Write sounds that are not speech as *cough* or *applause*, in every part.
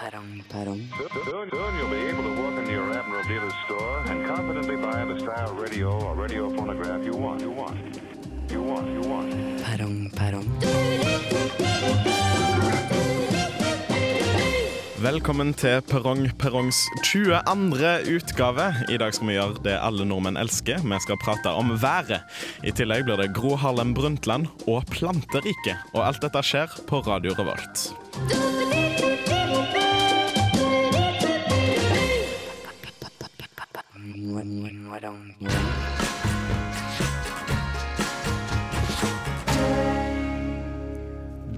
Parang, parang. Soon, soon you'll be able to walk into your Admiral dealer's store and confidently buy the style radio or radio phonograph you want. You want. You want. You want. Parang, parang. Velkommen til Perrong Perrongs 22. utgave. I dag skal vi gjøre det alle nordmenn elsker. Vi skal prate om været. I tillegg blir det Gro Harlem Brundtland og Planteriket. Og alt dette skjer på Radio Revolt.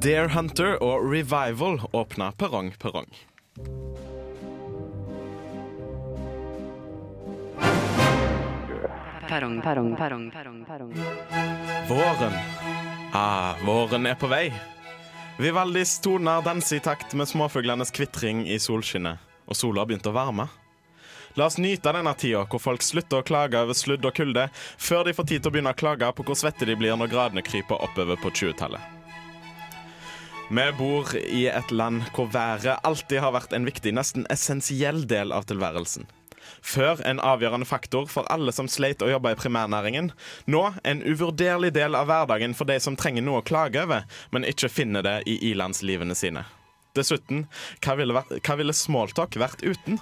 Deer Hunter og Revival åpna Perrong Perrong. Parang, parang, parang, parang, parang. Våren. Ah, våren er på vei. Vivaldis toner danser i takt med småfuglenes kvitring i solskinnet, og sola har begynt å varme. La oss nyte denne tida hvor folk slutter å klage over sludd og kulde, før de får tid til å begynne å klage på hvor svette de blir når gradene kryper oppover på 20-tallet. Vi bor i et land hvor været alltid har vært en viktig, nesten essensiell del av tilværelsen. Før en avgjørende faktor for alle som sleit å jobbe i primærnæringen. Nå en uvurderlig del av hverdagen for de som trenger noe å klage over, men ikke finner det i ilandslivene sine. Dessuten, hva ville, vært- hva ville smalltalk vært uten?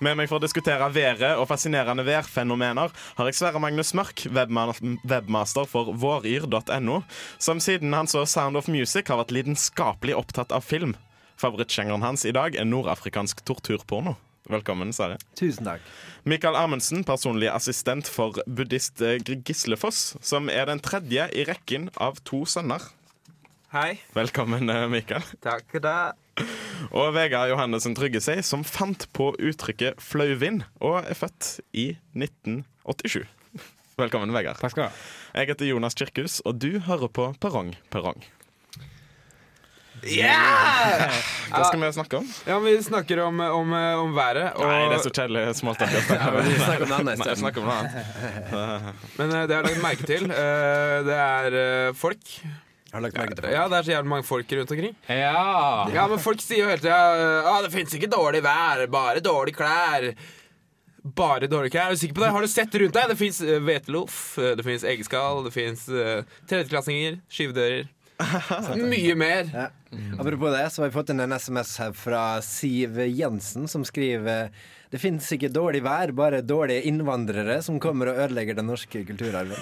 Med meg for å diskutere været og fascinerende værfenomener har jeg Sverre Magnus Mørk, webma- webmaster for våryr.no, som siden han så Sound of Music har vært lidenskapelig opptatt av film. Favorittsjangeren hans i dag er nordafrikansk torturporno. Velkommen, Sverre. Tusen takk. Mikael Amundsen, personlig assistent for buddhist eh, Gislefoss, som er den tredje i rekken av to sønner. Hei. Velkommen, eh, Mikael. Takk da. Og Vegard Johannessen Trygge seg, som fant på uttrykket flauvind, og er født i 1987. Velkommen, Vegard. Takk skal du ha. Jeg heter Jonas Kirkhus, og du hører på Perrong Perrong. Hva skal vi snakke om? Ja, men Vi snakker om, om, om været. Og, Nei, det er så kjedelig smalltalk. *laughs* å snakke om. Vi snakker om det Nei, neste. snakk om noe annet. Men eh, det jeg har lagt merke til, eh, det er eh, folk. Har du lagt merke til det? Ja, det er så jævlig mange folk rundt omkring. Ja! Ja, men folk sier jo hele tida ah, 'Det fins ikke dårlig vær, bare dårlige klær'. Bare dårlige klær? Er du sikker på det? Har du sett rundt deg? Det fins hveteloff, eh, det fins eggeskall, det fins tredjeklassinger, skyvedører. Mye mer. *laughs* Ja. Apropos det, så har vi fått inn en SMS her fra Siv Jensen, som skriver Det fins ikke dårlig vær, bare dårlige innvandrere som kommer og ødelegger den norske kulturarven.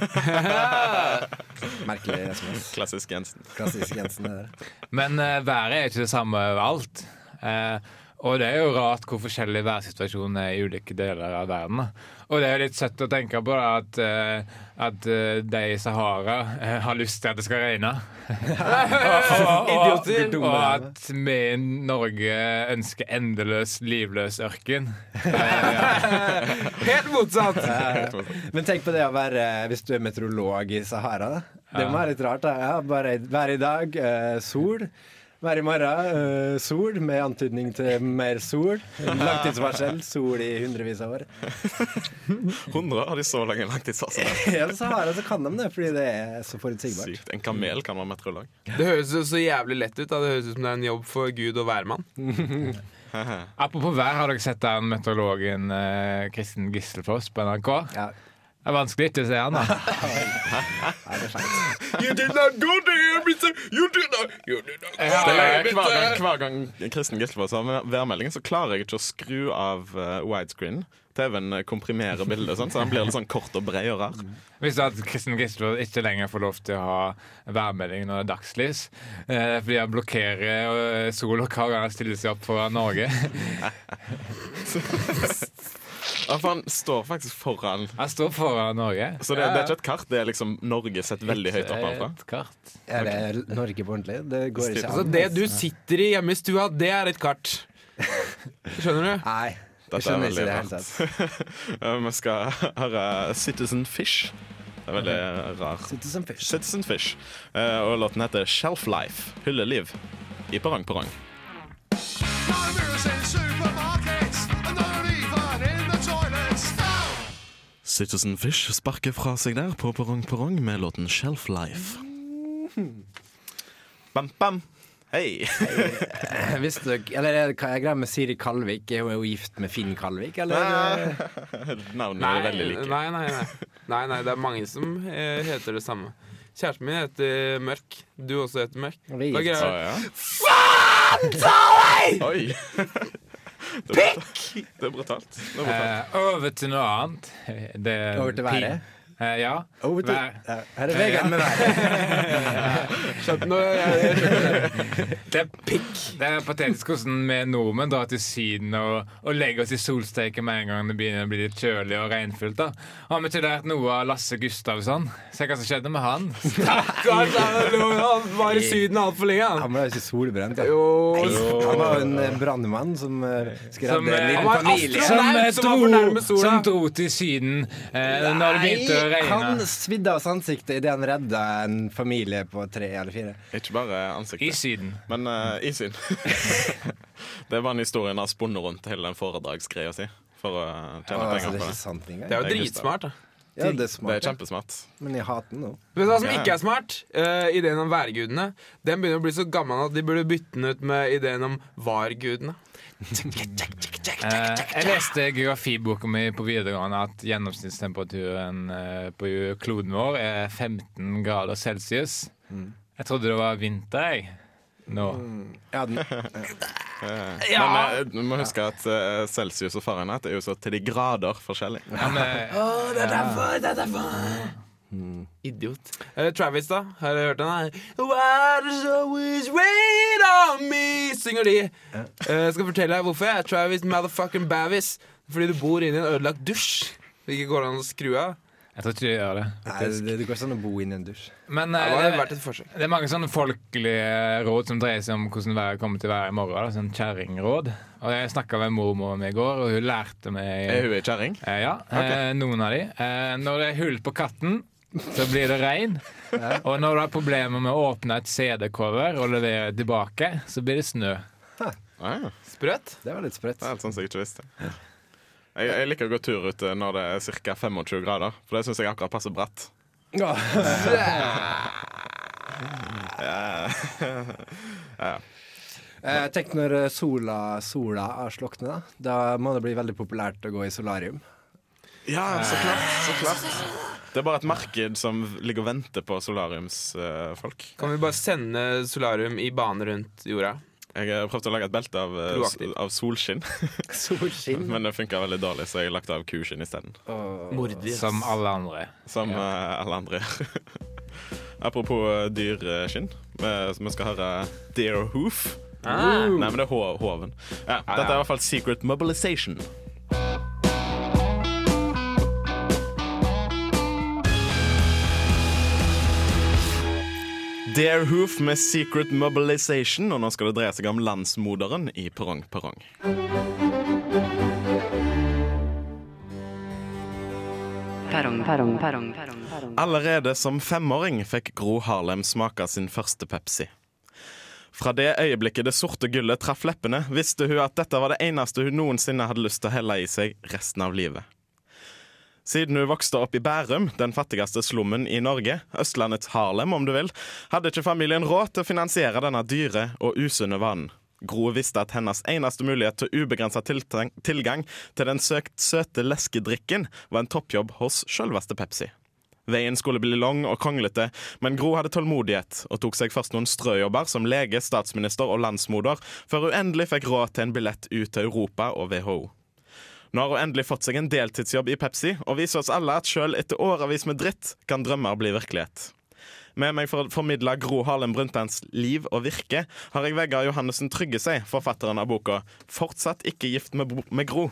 Merkelig SMS. Klassisk Jensen. Klassisk Jensen. det der. Men eh, været er ikke det samme overalt. Eh, og det er jo rart hvor forskjellig værsituasjonen er i ulike deler av verden. da. Og det er jo litt søtt å tenke på da, at, eh, at eh, de i Sahara eh, har lyst til at det skal regne. og, og, Idioter. og, og at vi i Norge ønsker endeløs, livløs ørken. *laughs* Helt motsatt! Men tenk på det å være hvis du er meteorolog i Sahara. da. Det må være litt rart. da. Ja, bare vær i dag, eh, sol. Vær i morgen, eh, sol, med antydning til mer sol. Langtidsvarsel, sol i hundrevis av år. 100 har de så lenge langtidsvarsel. Ja, men Sahara så kan de det, fordi det er så forutsigbart. Sykt. En kamel kan være meteorolog. Det høres jo så jævlig lett ut. da Det høres ut som det er en jobb for Gud og hvermann. *laughs* Apropos vær, har dere sett den meteorologen eh, Kristen Gislefoss på NRK? Ja. Det er vanskelig ikke å se han, da. You did not go there, mister. You did not, you did not go Ja, there, ja, mister. hver, gang, hver gang Kristen Gislefoss har med- værmeldingen, så klarer jeg ikke å skru av uh, widescreen. TV-en komprimerer bildet, sånn, så den blir litt sånn kort og brei og rar. Hvis at Kristin Gislevold ikke lenger får lov til å ha værmelding når det er dagslys, eh, fordi han blokkerer eh, sol og hver gang han stiller seg opp foran Norge. *laughs* Ja, for han står faktisk foran Han står foran Norge. Så det, det er ikke et kart, det er liksom Norge sett veldig høyt opp herfra. Et kart. Er det Norge på ordentlig? Det går ikke Altså an. Det du sitter i hjemme i stua, det er et kart. Skjønner du? Nei. Dette er Jeg skjønner ikke veldig det i det hele rart. tatt. Eh, Vi skal høre Citizen Fish. Det er veldig rar. Sitter som *laughs* fisk. Citizen Fish. Eh, og låten heter Shelf Life. Hylleliv. I parang parang. Citizen Fish sparker fra seg der på Perrong Perrong med låten Shelf Life. Bam, bam. Hei! *laughs* Visste dere Eller er det- hva er greia med Siri Kalvik? Er hun er hun gift med Finn Kalvik, eller? Navnene er veldig like. Nei, nei, nei. nei, nei det er mange som eh, heter det samme. Kjæresten min heter Mørk. Du også heter Mørk. Vi er Hva er Å, greia? ja. Oi! *laughs* Pikk! Det er brutalt. Det er brutalt. Eh, over til noe annet. Det er Over til pi- været? Eh, ja. Over til- Vær- Ja, Her er Vegard med været. Skjønte nå, jeg, jeg, *laughs* Det er pikk. Det er patetisk hvordan vi nordmenn drar til Syden og, og legger oss i solsteken med en gang det begynner å bli litt kjølig og regnfullt. da. Har vi ikke lært noe av Lasse Gustavsson? Se hva som skjedde med *laughs* han. Stakkars, han lå- han var i Syden altfor lenge. han. Han var jo ikke solbrent. da. Jo, Han var jo en eh, brannmann som eh, skulle Som, redde en liten eh, han var familie. astronaut. Nei, eh, som var for nærme sola. som dro til Syden eh, når det begynte å Nei, han regne. svidde av oss ansiktet idet han redda en familie på tre eller fire. Ikke bare I ansiktet, Syden. men eh, i syn. *laughs* det var en historie han har spunnet rundt hele den foredragsgreia si for å eh, Å, tjene penger altså, det er på ikke det. sant engang. det er jo Det er dritsmart. da Ja, det er Det er smart, kjempesmart. men jeg hater den nå. Vet du hva som Ja. ikke er smart? Eh, ideen om værgudene. Den begynner å bli så gammel at de burde bytte den ut med ideen om vargudene. Eh, jeg leste geografiboka mi på videregående at gjennomsnittstemperaturen eh, på kloden vår er 15 grader celsius. Jeg trodde det var vinter, jeg. Nå. Jeg hadde den. Men eh, du må huske at eh, celsius og fahrenheit er jo så til de grader forskjellig. Ja, men, Idiot. Eh, Travis, da? Har du hørt den her? Why does always rain on me? Synger de. Eh, skal fortelle deg hvorfor jeg er Travis motherfucking Bavis. Fordi du bor inne i en ødelagt dusj. Det ikke går an å skru av. jeg tror ikke de gjør det. Nei, det, det går ikke an å bo inni en dusj. Men Det eh, var det, verdt et forsøk. det er mange sånne folkelige råd som dreier seg om hvordan været kommer til å være i morgen. Da. Sånn kjerringråd. Og jeg snakka med mormor mi i går, og hun lærte meg *laughs* Er hun ei kjerring? Eh, ja, eh, noen av de. Eh, når det er hull på katten, så blir det regn. Og når du har problemer med å åpne et CD-cover og levere det tilbake, så blir det snø. Ah, ja. Sprøtt? Det var litt sprøtt. Det er helt sånn som jeg ikke visste. Jeg, jeg liker å gå tur ute når det er ca. 25 grader, for det syns jeg akkurat passer bratt. *laughs* Eh, Tenk når eh, sola, sola er slokne, da. Da må det bli veldig populært å gå i solarium. Ja, så klart. Så *laughs* klart. Det er bare et marked som ligger og venter på solariumsfolk. Kan vi bare sende solarium i bane rundt jorda? Jeg har prøvd å lage et belte av, eh, Proaktiv. av solskinn, Solskinn. *laughs* men det funka veldig dårlig, så jeg har lagt av kuskinn isteden. Mordig. ass. Som alle andre. Som eh, alle andre *laughs* gjør. Apropos eh, dyreskinn, eh, så vi skal høre Deer Hoof. Ah. Nei, men det er ho hoven. Ja, dette er i hvert fall Secret Mobilization. Dear Hoof med Secret Mobilization, og nå skal det dreie seg om landsmoderen i Perrong Perrong. Perrong, perrong, perrong, perrong, perrong. Allerede som femåring fikk Gro Harlem smake sin første Pepsi. Fra det øyeblikket det sorte gullet traff leppene, visste hun at dette var det eneste hun noensinne hadde lyst til å helle i seg resten av livet. Siden hun vokste opp i Bærum, den fattigste slummen i Norge, Østlandets Harlem om du vil, hadde ikke familien råd til å finansiere denne dyre og usunne vanen. Gro visste at hennes eneste mulighet til ubegrensa tiltang- tilgang til den søkt søte leskedrikken var en toppjobb hos sjølveste Pepsi. Veien skulle bli lang og kronglete, men Gro hadde tålmodighet og tok seg først noen strøjobber som lege, statsminister og landsmoder, før hun endelig fikk råd til en billett ut til Europa og WHO. Nå har hun endelig fått seg en deltidsjobb i Pepsi og viser oss alle at sjøl etter årevis med dritt kan drømmer bli virkelighet. Med meg for å formidle Gro Harlem Brundtlands liv og virke har jeg Vegard Johannessen Trygge seg, forfatteren av boka 'Fortsatt ikke gift med, Bo- med Gro'.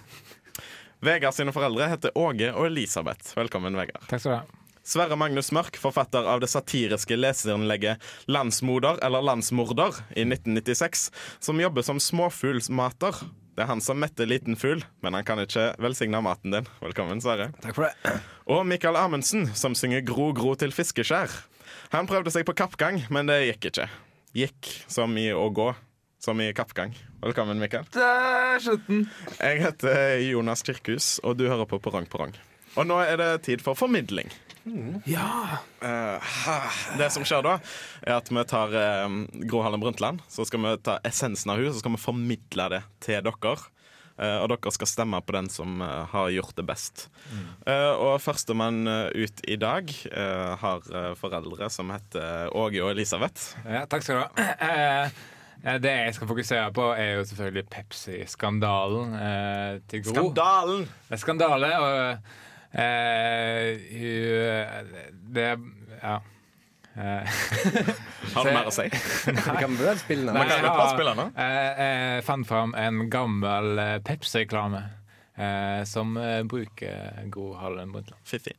Vegard sine foreldre heter Åge og Elisabeth. Velkommen, Vegard. Takk skal du ha. Sverre Magnus Mørk, forfatter av det satiriske leserinnlegget 'Landsmoder eller landsmorder' i 1996, som jobber som småfuglsmater. Det er han som metter liten fugl, men han kan ikke velsigne maten din. Velkommen, Sverre. Takk for *laughs* det. Og Mikael Amundsen, som synger 'Gro, gro til fiskeskjær'. Han prøvde seg på kappgang, men det gikk ikke. Gikk som i å gå. Som i kappgang. Velkommen, Mikael. Der skjønte den. Jeg heter Jonas Kirkhus, og du hører på Porang Porang. Og nå er det tid for formidling. Eh, Ja! Det som skjer da, er at vi tar eh, Gro Harlem Brundtland. Så skal vi ta essensen av hun, så skal vi formidle det til dere. Eh, og dere skal stemme på den som eh, har gjort det best. Eh, og førstemann eh, ut i dag eh, har eh, foreldre som heter Åge og Elisabeth. Ja, takk skal du ha. Eh, Det jeg skal fokusere på, er jo selvfølgelig Pepsi-skandalen eh, til Gro. Skandalen! Det er skandale, og eh, hun- Det Ja. Eh, Har du mer å si? *laughs* Vi kan vel spille den. Man kan jeg jo har- bare spille den. eh, eh, fant fram en gammel eh, Pepsi-reklame eh, som eh, bruker Gro Harlem Brundtland. Fiffi.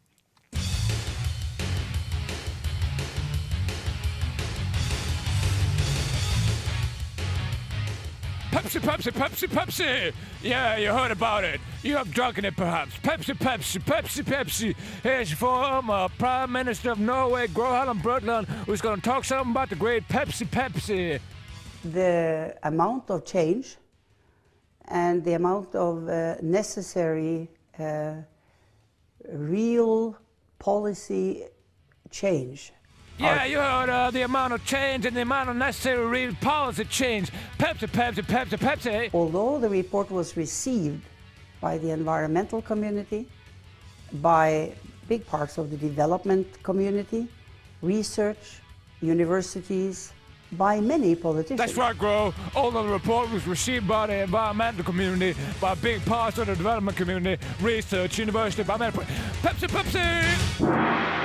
Pepsi, Pepsi, Pepsi, Pepsi! Yeah, you heard about it. You have drunken it, perhaps. Pepsi, Pepsi, Pepsi, Pepsi. Here's former Prime Minister of Norway, Gro Harlem Brundtland, who's going to talk something about the great Pepsi, Pepsi. the amount of change and the amount of uh, necessary uh, real policy change Yeah, you heard uh, the amount of change and the amount of necessary real policy change. Pepsi, Pepsi, Pepsi, Pepsi. although the report was received by the environmental community, by big parts of the development community, research, universities, by many politicians. That's right, Gro. Although the report was received by the environmental community, by big parts of the development community, research, university, by men- Pepsi, Pepsi!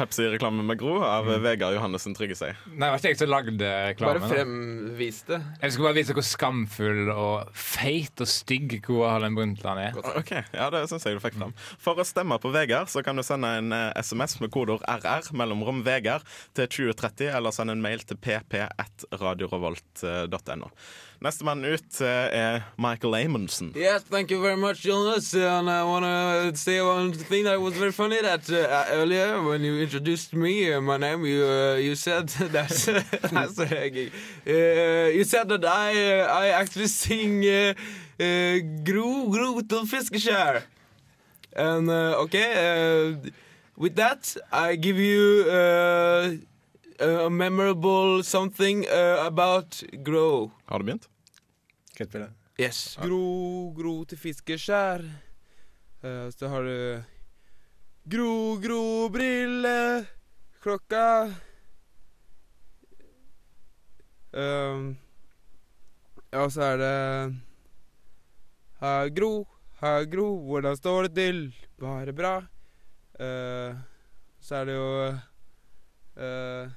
Pepsi-reklame med Gro av Vegard Johannessen Tryggesei. Nei, det var ikke jeg som lagde Bare reklamen. fremvis det. Jeg skulle bare vise hvor skamfull og feit og stygg Gro Harlem Brundtland er. Ok, ja, det synes jeg du fikk fram. For å stemme på Vegard, så kan du sende en eh, SMS med kodeord RR mellomrom Vegard til 2030, eller sende en mail til eh, pp1radiorevolt.no. Nestemann ut eh, er Michael Amundsen. Yes, thank you very much, Jonas. And I want to say one thing that was very funny that uh, earlier when you introduced me, uh, my name, you uh, you said *laughs* that that's uh, you said that I uh, I actually sing uh, uh, Gro Gro till Fiskeskär. And uh, okay, uh, with that, I give you uh, a memorable something uh, about Gro. Har du begynt? Skal jeg spille den? Yes. Gro, gro til fiskeskjær. Eh, så har du Gro, gro, brille, klokka Ehm, Ja, og så er det Ha gro, ha gro, hvordan står det til? Bare bra. Eh, så er det jo eh,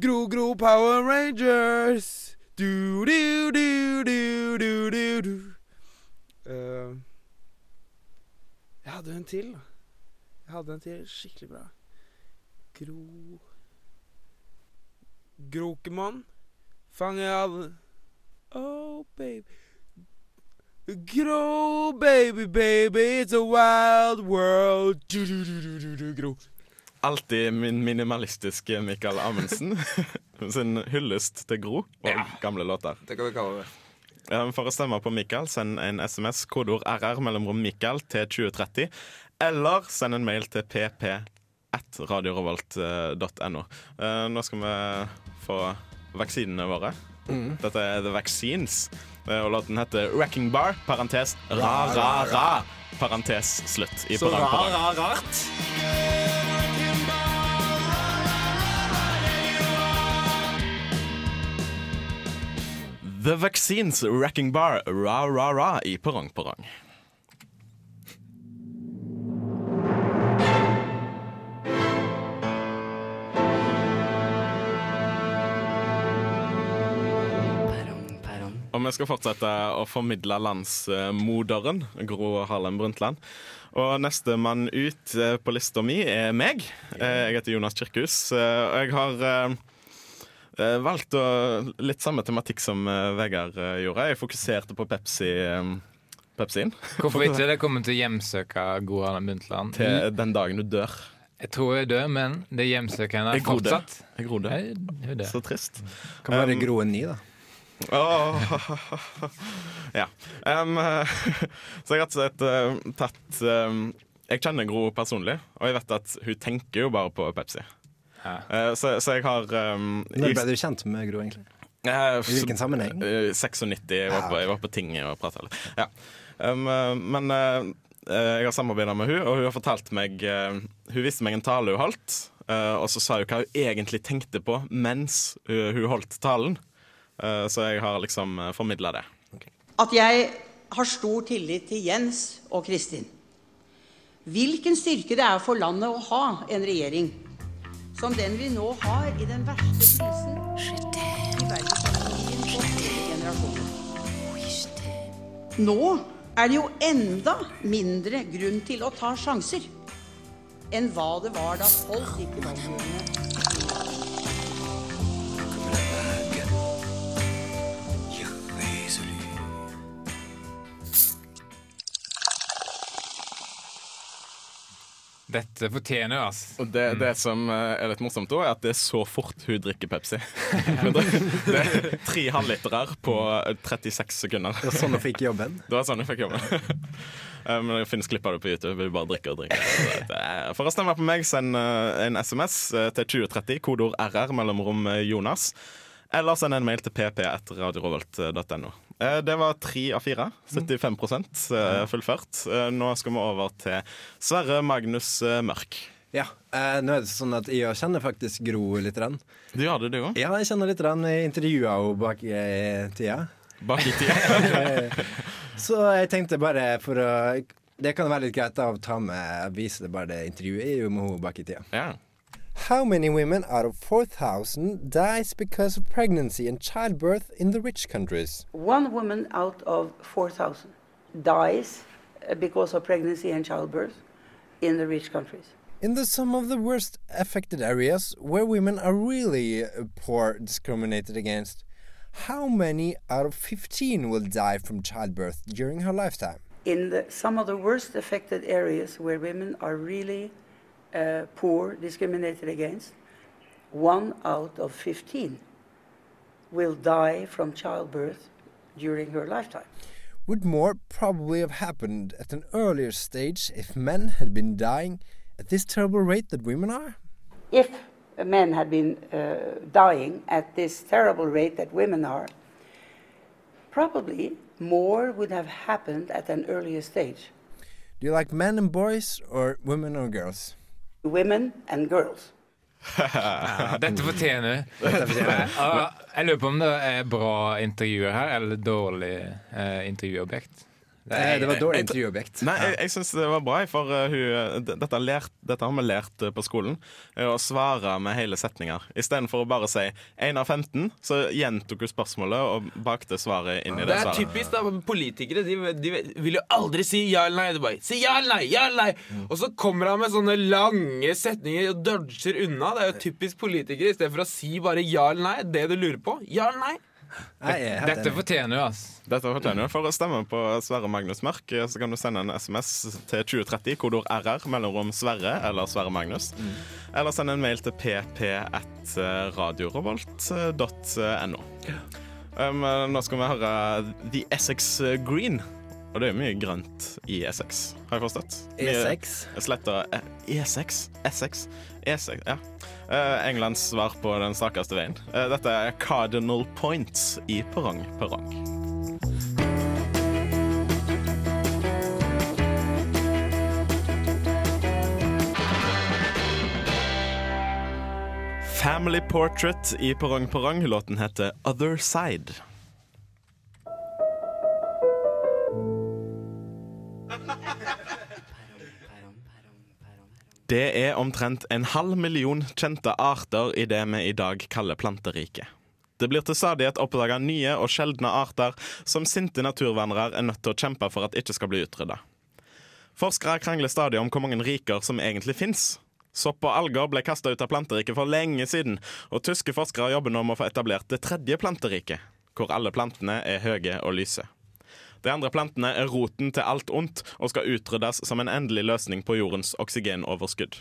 Gro, gro, Power Rangers! Du, du, du, du, du, du, du. Eh, jeg hadde en til, da. Jeg hadde en til skikkelig bra. Gro Grokemann. Fange alle Oh, baby. Gro, baby, baby, it's a wild world. Du, du, du, du, du, du, gro. Alltid min minimalistiske Michael Amundsen. *laughs* Sin hyllest til Gro og gamle låter. Det kan vi kalle det. Eh, For å stemme på Mikael, send en SMS, kodeord RR mellomrom Mikael til 2030. Eller send en mail til pp1radiorevolt.no. Eh, Nå skal vi få vaksinene våre. Mm. Dette er The Vaccines, eh, og låten heter Wrecking Bar, parentes ra-ra-ra, parentes slutt. I parang, parang. rart. The Vaccines Wrecking Bar Ra Ra Ra i Perrong Perrong. Perrong, perrong. Og vi skal fortsette å formidle landsmoderen, Gro Harlem Brundtland. Og nestemann ut eh, på lista mi er meg. Eh, Jeg heter Jonas Kirkhus. eh, Og jeg har eh, eh, valgt å, litt samme tematikk som eh, Vegard eh, gjorde. Jeg fokuserte på Pepsi, eh, Pepsien Hvorfor ikke det kommer til å hjemsøke Gro Harlem Brundtland? til den dagen du dør. Jeg tror hun er død, men det hjemsøker henne Jeg gro død. fortsatt. Jeg gro død. Nei, Hun er død. Um, Så trist. Kan bare gro en ny, da. Åh, *laughs* ja. Em, *laughs* så jeg har rett og slett eh, tatt em, Jeg kjenner Gro personlig, og jeg vet at hun tenker jo bare på Pepsi. Eh, så, så jeg har em, Når ble jeg- du kjent med Gro, egentlig? eh, I hvilken sammenheng? Eh, 96. Jeg var, Ja, på, ok. jeg var på tinget og prata litt. Ja. Um, eh, men eh, eh, jeg har samarbeida med hun og hun har fortalt meg eh, Hun viste meg en tale hun holdt, eh, og så sa hun hva hun egentlig tenkte på mens eh, hun holdt talen. Eh, så jeg har liksom uh, formidla det. at jeg har stor tillit til Jens og Kristin. Hvilken styrke det er for landet å ha en regjering som den vi nå har i den verste krisen i verdensøkonomien på flere generasjoner. Nå er det jo enda mindre grunn til å ta sjanser enn hva det var da folk gikk i valgurnene Dette fortjener jo, ass. Og det, det som eh, er litt morsomt, også, er at det er så fort hun drikker *laughs* Pepsi. Hun drikker- det er tre halvliterer på 36 sekunder. *laughs* Det var sånn hun fikk jobben. Det var sånn jeg fikk jobben. *laughs* Eh, Men det finnes klipp av det på YouTube. Vi bare drikker og drikker. Det er- eh, For å stemme på meg, send eh, en SMS eh, til 2030, kodeord RR, mellomrom eh, Jonas. Eller send en mail til pp etter radiorovolt.no. Eh, Det var tre av fire. 75 eh, fullført. Eh, Nå skal vi over til Sverre Magnus eh, Mørk. Ja, eh, nå er det sånn at jeg kjenner faktisk Gro litt. Rann. Du hadde det, du òg? Ja, jeg kjenner litt. Rann. Jeg intervjua henne bak eh, i tida. Bak i tida. Så jeg tenkte bare for å Det kan være litt greit da å ta med vise det bare det intervjuet jeg gjorde med henne bak i tida. *laughs* Ja. How many women out of 4,000 dies because of pregnancy and childbirth in the rich countries? One woman out of 4,000 dies uh, because of pregnancy and childbirth in the rich countries. In the some of the worst affected areas where women are really uh, poor discriminated against, how many out of 15 will die from childbirth during her lifetime? In the, some of the worst affected areas where women are really uh, poor, discriminated against, one out of 15 will die from childbirth during her lifetime. Would more probably have happened at an earlier stage if men had been dying at this terrible rate that women are? if men had been uh, dying at this terrible rate that women are, probably more would have happened at an earlier stage. Do you like men and boys or women and girls? Women and girls. Ja, Dette fortjener du. Ja, Jeg lurer på om det er bra intervjuer her, eller dårlig eh, intervjuobjekt. Eh, Det var et dårlig jeg- intervjuobjekt. Nei, jeg, jeg syns det var bra, for eh, hun, d- dette, har lært, dette har vi lært eh, på skolen. eh, Å svare med hele setninger. Istedenfor å bare si 1 av 15, så gjentok hun spørsmålet og bakte svaret inn i Det det er svaret. typisk da, politikere. De, de vil jo aldri si ja eller nei. De bare si ja eller nei, ja eller nei. Mm. Og så kommer han med sånne lange setninger og dodger unna. Det er jo typisk politikere. Istedenfor å si bare ja eller nei. Det du lurer på. Ja eller nei. Nei, jeg er helt Dette enig. fortjener du, ass. Dette fortjener du. For å stemme på Sverre Magnus Mørk, eh, så kan du sende en SMS til 2030, kodeord RR, mellomrom Sverre eller Sverre Magnus. Eller send en mail til eh, pp1radiorovolt.no. Um, eh, nå skal vi høre The Essex Green. Og det er jo mye grønt i Essex, har jeg forstått. Mye- E6. Sletta eh, E6. Essex. E6, ja. Eh, Englands svar på den stakeste veien. Eh, dette er Cardinal Points i Perrong Perrong. Family Portrait i Perrong Perrong. Låten heter Other Side. Det er omtrent en halv million kjente arter i det vi i dag kaller planteriket. Det blir til stadighet oppdaga nye og sjeldne arter som sinte naturvernere er nødt til å kjempe for at ikke skal bli utrydda. Forskere krangler stadig om hvor mange riker som egentlig fins. Sopp og alger ble kasta ut av planteriket for lenge siden, og tyske forskere jobber nå med å få etablert det tredje planteriket, hvor alle plantene er høye og lyse. De andre plantene er roten til alt ondt og skal utryddes som en endelig løsning på jordens oksygenoverskudd.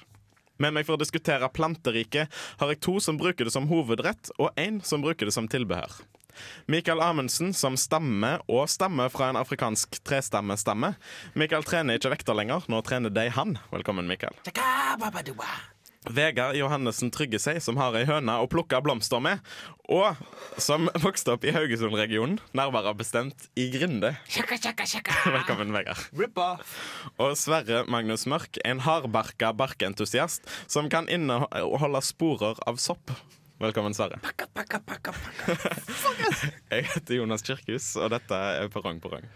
Med meg for å diskutere planteriket har jeg to som bruker det som hovedrett, og én som bruker det som tilbehør. Michael Amundsen, som stammer og stammer fra en afrikansk trestammestamme. Michael trener ikke vekter lenger, nå trener de han. Velkommen, Michael. Vegard Johannessen Trygge seg, som har ei høne å plukke blomster med, og som vokste opp i Haugesund-regionen, nærmere bestemt i Grinde. *laughs* Velkommen, Vegard. Og Sverre Magnus Mørk, en hardbarka barkentusiast som kan inneholde sporer av sopp. Velkommen, Sverre. Jeg heter Jonas Kirkhus, og dette er Perrong Perrong.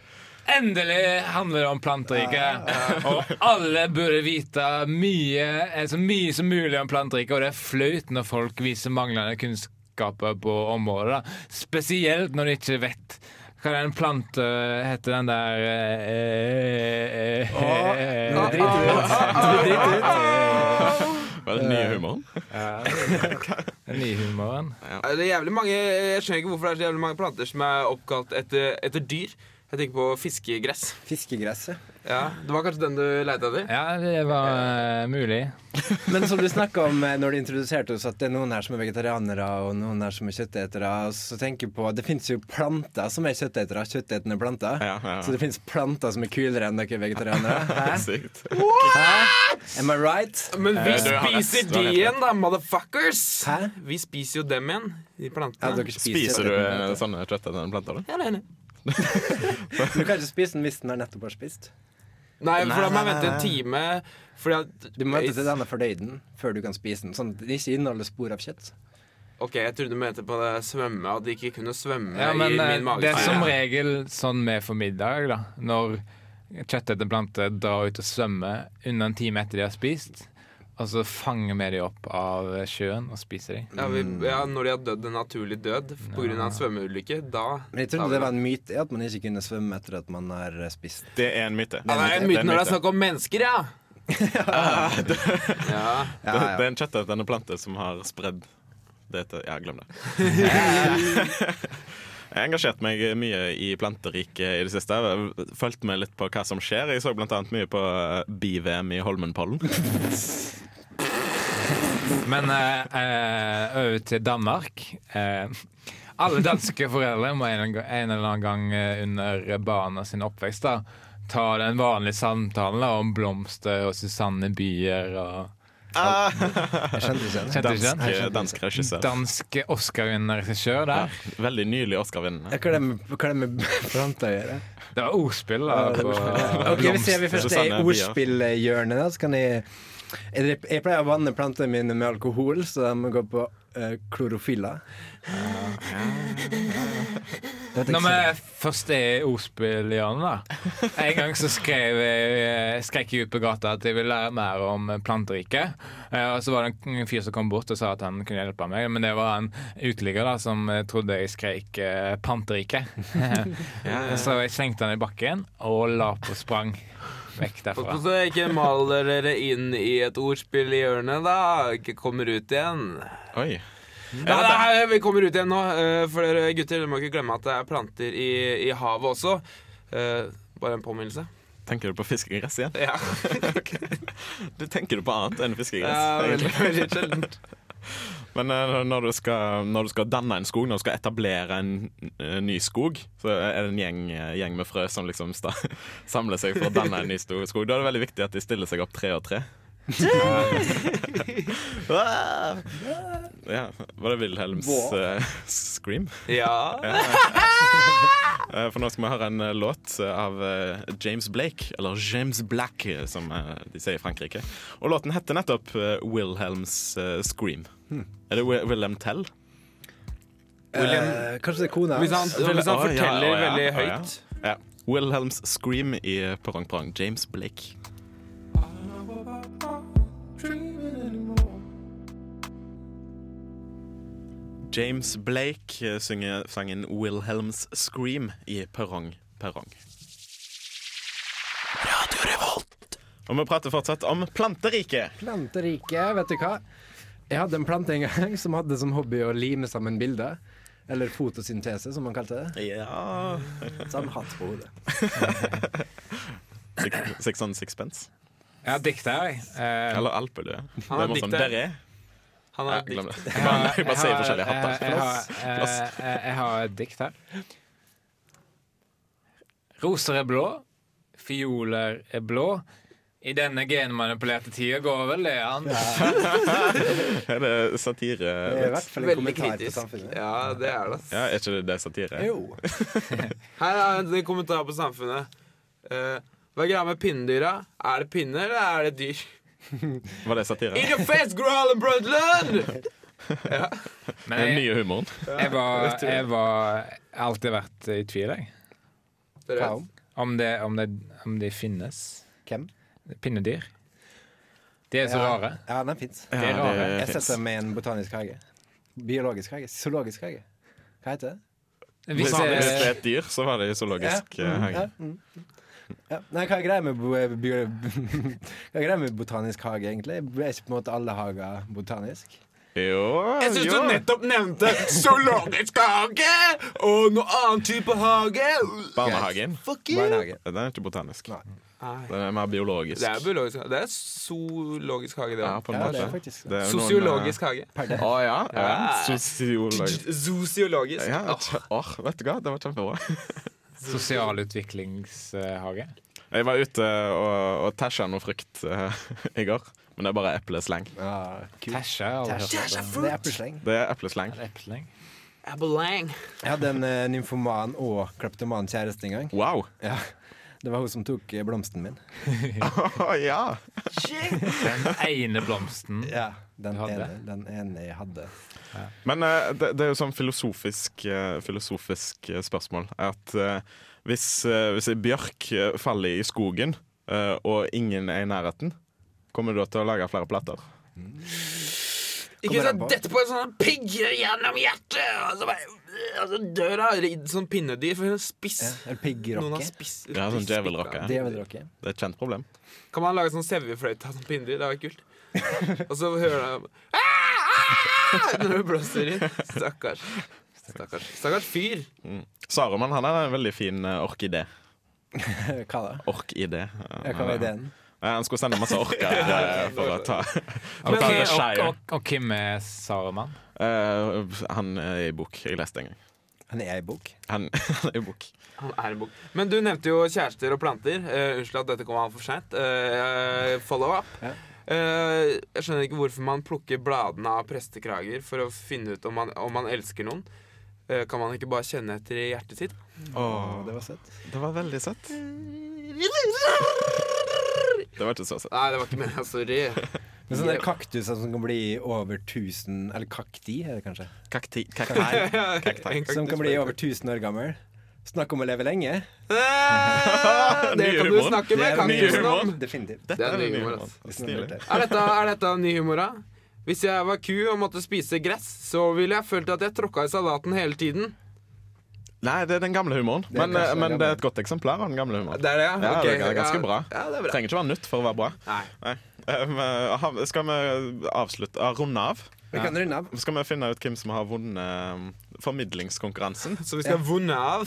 Endelig handler det om planteriket. Og alle burde vite mye, eh, så mye som mulig om planteriket, og det er flaut når folk viser manglende kunnskaper på området. da. Spesielt når de ikke vet hva den plante heter, den der eh, eh, eh, Drit ut. Drit ut. Var Eh, det den nye humoren? *laughs* Den nye humoren. Eh, Det er jævlig mange Jeg skjønner ikke hvorfor det er så jævlig mange planter som er oppkalt etter, etter dyr. Jeg tenker på fiskegress. Fiskegresset. Ja, Det var kanskje den du leita etter? Ja, det var eh, mulig. Men som du snakka om eh, når du introduserte oss, at det er noen her som er vegetarianere, og noen her som er kjøttetere. og Så tenker jeg på at det fins jo planter som er kjøttetere. Kjøttetende planter. Ja, ja, ja. Så det fins planter som er kulere enn dere vegetarianere. *laughs* Hæ? *laughs* Sykt. Am I right? Men vi Eh, du har rett, spiser du har de rett. igjen, da, motherfuckers! Hæ? Vi spiser jo dem igjen, de Ja, plantene. dere spiser, Spiser du kjøttetende eh, planter. sånne kjøttetende planter? du? Ja, nei, nei. Du kan ikke spise den hvis den er nettopp har spist. Nei, for da må Nei, jeg nei, vente nei. en time. Fordi at, Du må vente til den er fordøyd den, før du kan spise den. Sånn at den ikke inneholder spor av kjøtt. Ok, Jeg trodde du mente på det svømme, at de ikke kunne svømme Ja, men i eh, min mage. det er som regel sånn vi får middag, da. Når kjøttetende planter drar ut og svømmer under en time etter de har spist. Og så fanger vi de opp av sjøen og spiser de. ja, vi, ja, Når de har dødd en naturlig død pga. en svømmeulykke, da Men jeg trodde det var en myte at man ikke kunne svømme etter at man har eh, spist den. Det er en myte. ja, Det er en myte når det er snakk om mennesker, ja! ja. Det, det er en kjøttetende plante som har spredd det til Ja, glem *laughs* det. Jeg har engasjert meg mye i planteriket i det siste. Fulgt med litt på hva som skjer. Jeg så bl.a. mye på bi-VM i Holmenkollen. Men eh, eh, over til Danmark. Eh, alle danske foreldre må en, en eller annen gang eh, under barna sin oppvekst da, ta den vanlige samtalen da, om blomster og Susanne Bier og Jeg *laughs* skjønte ikke det. Kjente du ikke Dansk, eh, den? dansk regissør. Dansk Oscar-vinnende regissør der. Veldig nylig Oscar-vinnende. Hva er det med- hva er det med *laughs* planter å gjøre? Det var ordspill da, *laughs* på Ok, Hvis jeg vil først er Susanne i Bia. ordspillhjørnet, da, så kan jeg jeg, jeg pleier å vanne plantene mine med alkohol, så de går på uh, klorofylla. Når vi først er i ordspillhjørnet, da. En gang så skrev jeg, eh, skrek jeg ut på gata at jeg ville lære mer om planteriket. Eh, Og så var det en fyr som kom bort og sa at han kunne hjelpe meg, men det var en uteligger da, som eh, trodde jeg skrek eh, *laughs* 'panteriket'. så jeg slengte han i bakken og la på sprang vekk Pass derfra. på så jeg ikke maler dere inn i et ordspill i hjørnet, da. Ikke kommer ut igjen. Oi. Ja, nei, vi kommer ut igjen nå. eh, For dere gutter, dere må ikke glemme at det er planter i, i havet også. Eh, Bare en påminnelse. Tenker du på fiskegress igjen? Ja, *laughs* Du tenker du på annet enn fiskegress? ja veldig, egentlig. veldig sjeldent. Men eh, når du, skal, når du skal danne en skog, når du skal etablere en eh, ny skog, så er det en gjeng, eh, gjeng med frø som liksom sta, *laughs* samler seg for å danne en ny stor skog. Da er det veldig viktig at de stiller seg opp tre og *laughs* tre. *laughs* Ah! ja, var det Wilhelms eh, scream? Ja. Eh, for nå skal vi høre en eh, låt av eh, James Blake, eller James Black, eh, som eh, de sier i Frankrike. Og låten heter nettopp eh, Wilhelms eh, Scream. Er det Wi- Wilhelm Tell? Eh, kanskje det er kona Hvis han, hans? hvis Å, han ja, sånn forteller å, ja, å, veldig ja. høyt Ja. Wilhelms Scream i Perrong Perrong. James Blake. James Blake eh, synger sangen 'Wilhelms Scream' i Perrong Perrong. Og vi prater fortsatt om planteriket. Planterike, vet du hva? Jeg hadde en plante en gang som hadde som hobby å lime sammen bilder. Eller fotosyntese, som man kalte det. Ja Så han hatt på hodet. Six, six on sixpence. Jeg har dikt her, jeg. Eh, Eller alpelue. Det Han er må sånn dikter. der er. Han Ja, har et glem dikt. det. Jeg bare, jeg bare *laughs* sier forskjellige hatter. Jeg har, Plass. jeg, har, jeg, jeg har et dikt her. Roser er blå, fioler er blå. I denne genmanipulerte tida går vel det an. Er det satire? Det er i hvert fall en Veldig kommentar på kritisk. samfunnet. Ja, det er det. ass. Ja, er ikke det, det satire? Jo. Her er en kommentar på samfunnet. Eh, hva er greia med pinnedyra? Er det pinner, eller er det *laughs* dyr? Var det satire? In your face, Grohalen Brundtland! Men Den jeg, nye humoren. jeg, var, jeg var jeg har alltid vært i tvil, jeg. Dere Hva vet. om? Om det, om det, om de finnes. Hvem? Pinnedyr. De er så rare. Ja, den fins. Ja, er rare. det Jeg finnes. setter dem i en botanisk hage. Biologisk hage. Zoologisk hage. Hva heter det? Hvis Hvis det hvis det jeg, er et dyr, så var det i zoologisk eh, Ja, hage. mm, ja. Nei, hva er greia med, bo- eh, bio- *laughs* hva er greia med botanisk hage, egentlig? Er ikke på en måte alle hager botanisk? Jo, Jeg syns jo. du nettopp nevnte zoologisk hage og noe annen type hage. Barnehagen. Fuck you! Barnehage. Den er ikke botanisk. Nei. Nei. Den er mer biologisk. Det er biologisk hage. Det er zoologisk hage, det ja, òg. på en Ja, måte. det er faktisk det. er jo noen, eh, Sosiologisk hage. Per det. Å ja. ja. Ja. eh, Sosiologisk. Zoosiologisk. Ja, Åh, kje- åh, vet du hva, det var kjempebra. Sosialutviklingshage. Jeg var ute og, og tæsja noe frukt eh, *laughs* i går, men det er bare eplesleng. Ja, kult. Tæsje har jeg aldri hørt om. Det er eplesleng. Det er eplesleng. Epling. Abelang. Jeg hadde en eh, nymfoman og kleptoman kjæreste en gang. *laughs* Wow! Ja. Det var hun som tok eh, blomsten min. Å, ja! Den ene blomsten. Ja, den Du hadde? ene, den ene jeg hadde. Men eh, det, det er jo sånn filosofisk, eh, filosofisk eh, spørsmål. At eh, hvis, eh, hvis ei bjørk eh, faller i skogen, eh, og ingen er i nærheten, kommer du da til å lage flere plater? Ikke Kommer an sant, på. dette på en sånn pigger gjennom hjertet, og så, bare, og så dør hun ridd sånn pinnedyr, for hun er spiss. Ja, eller Noen har piggrocke. spiss. Ja, sånn spiss- djevelrocke. Det vil dere. *laughs* Det er et kjent problem. Kan man lage sånn sevjefløyte av sånn pinnedyr? Det var kult. *laughs* Og så hører jeg ah, Når du blåser inn. Stakkars. Stakkars, Stakkars fyr. Saruman han er en veldig fin eh, orkidé. Hva da? Orkidé. Ja, Hva var ideen? Eh, Han skulle sende masse orker eh, for å *laughs* ta, for å ta Men- Og, The og, Shire. og, og hvem er Saruman? Eh, han er i bok. Jeg leste en gang. Han er i bok. Han, *laughs* han er i bok. Han er en bok. Men du nevnte jo kjærester og planter. Eh, unnskyld at dette kom an for seint. Eh, follow up. Ja. Eh, jeg skjønner ikke hvorfor man plukker bladene av prestekrager for å finne ut om man, om man elsker noen. Eh, kan man ikke bare kjenne etter i hjertet sitt? Å, det var søtt. Det var veldig søtt. Det var ikke så søtt. Nei, det var ikke meninga. *laughs* Sorry. Men sånne kaktuser som kan bli over 1000 Eller kakti, er det kanskje? Kakti... Kakti... Kakti. Kaktus- Som kan bli over 1000 år gammel. Snakk om å leve lenge. Eh, Det Ny kan du humor. snakke med er ny kaktusen humor. om. Definitivt. Det er ny humor, humor, altså. Hvis ass. noen har Stilig. hørt det. Er dette, er dette ny humor, da? Hvis jeg var ku og måtte spise gress, så ville jeg følt at jeg tråkka i salaten hele tiden. Nei, det er den gamle humoren. er Men, eh, kanskje den men gamle. det er et godt eksemplar av den gamle humoren. Det er det, ja? Ja, Ok, det er ganske ja. bra. Ja, det er bra. Trenger ikke være nytt for å være bra. Nei. Nei. Um, ha- skal vi avslutte ah, runde av? Vi kan runde av. Skal vi finne ut hvem som har vunnet um, formidlingskonkurransen? Så vi skal vonde av.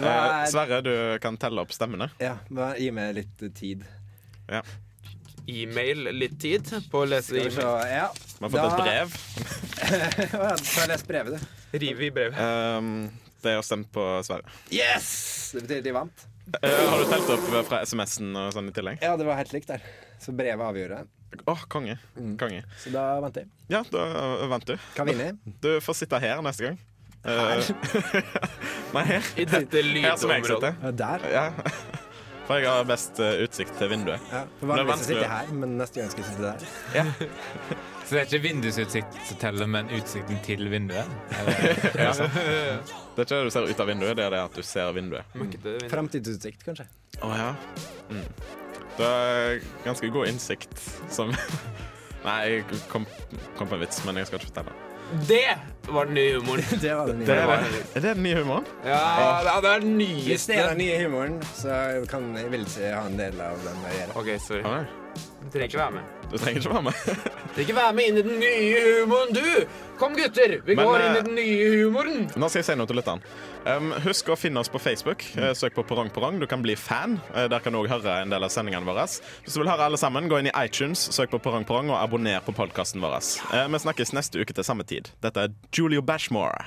Eh, var, Sverre, du kan telle opp stemmene. ja, bare gi meg litt tid. Ja. E-mail litt tid på å lese Skal vi se e-mail. Ja. Vi har fått et brev. Å ja, så har jeg lest brevet, du. Rive i brevet. Um, det er å stemme på Sverre. Yes! Det betyr at de vant. Eh, har du telt opp fra SMS-en og sånn i tillegg? Ja, det var helt likt der. Så brevet avgjorde. Åh, konge. konge. Så da vant jeg. Ja, da eh, vant du. Kan vinne. Du får sitte her neste gang. Her? *laughs* Nei, her. I dette her som jeg lydområdet. sitter. Ja, Der. Ja. *laughs* For jeg har best eh, utsikt til vinduet. Ja, for Det er vanligvis vanskelig. sitter jeg her, men neste gang skal jeg sitte der. Så det er ikke vindusutsikt som teller, men utsikten til vinduet? Det er ikke det du ser ut av vinduet, det er det at du ser vinduet. Møkkete vind. Framtidsutsikt, kanskje. Å ja. Mm. Det er ganske god innsikt som *laughs* Nei, jeg kom, kom på en vits, men jeg skal ikke fortelle. Det var den nye humoren. Det var det nye. Det er, det. er det den nye humoren? Ja, ja, det er den Hvis det er nyeste. den nye humoren, så kan jeg vil ikke ha en del av den å gjøre. OK, sorry. Ja, nei. Du trenger ikke være med. Du trenger ikke være med. *laughs* Du trenger ikke være med inn i den nye humoren, du! Kom, gutter! Vi Men, går eh, inn i den nye humoren. Nå skal jeg si noe til lytteren. Um, husk å finne oss på Facebook. Eh, Søk på Perrong Perrong. Du kan bli fan. Eh, Der kan du òg høre en del av sendingene våre. Hvis du vil høre alle sammen, gå inn i iTunes, søk på Perrong Perrong og abonner på podkasten vår. Eh, Vi snakkes neste uke til samme tid. Dette er Julio Bashmore.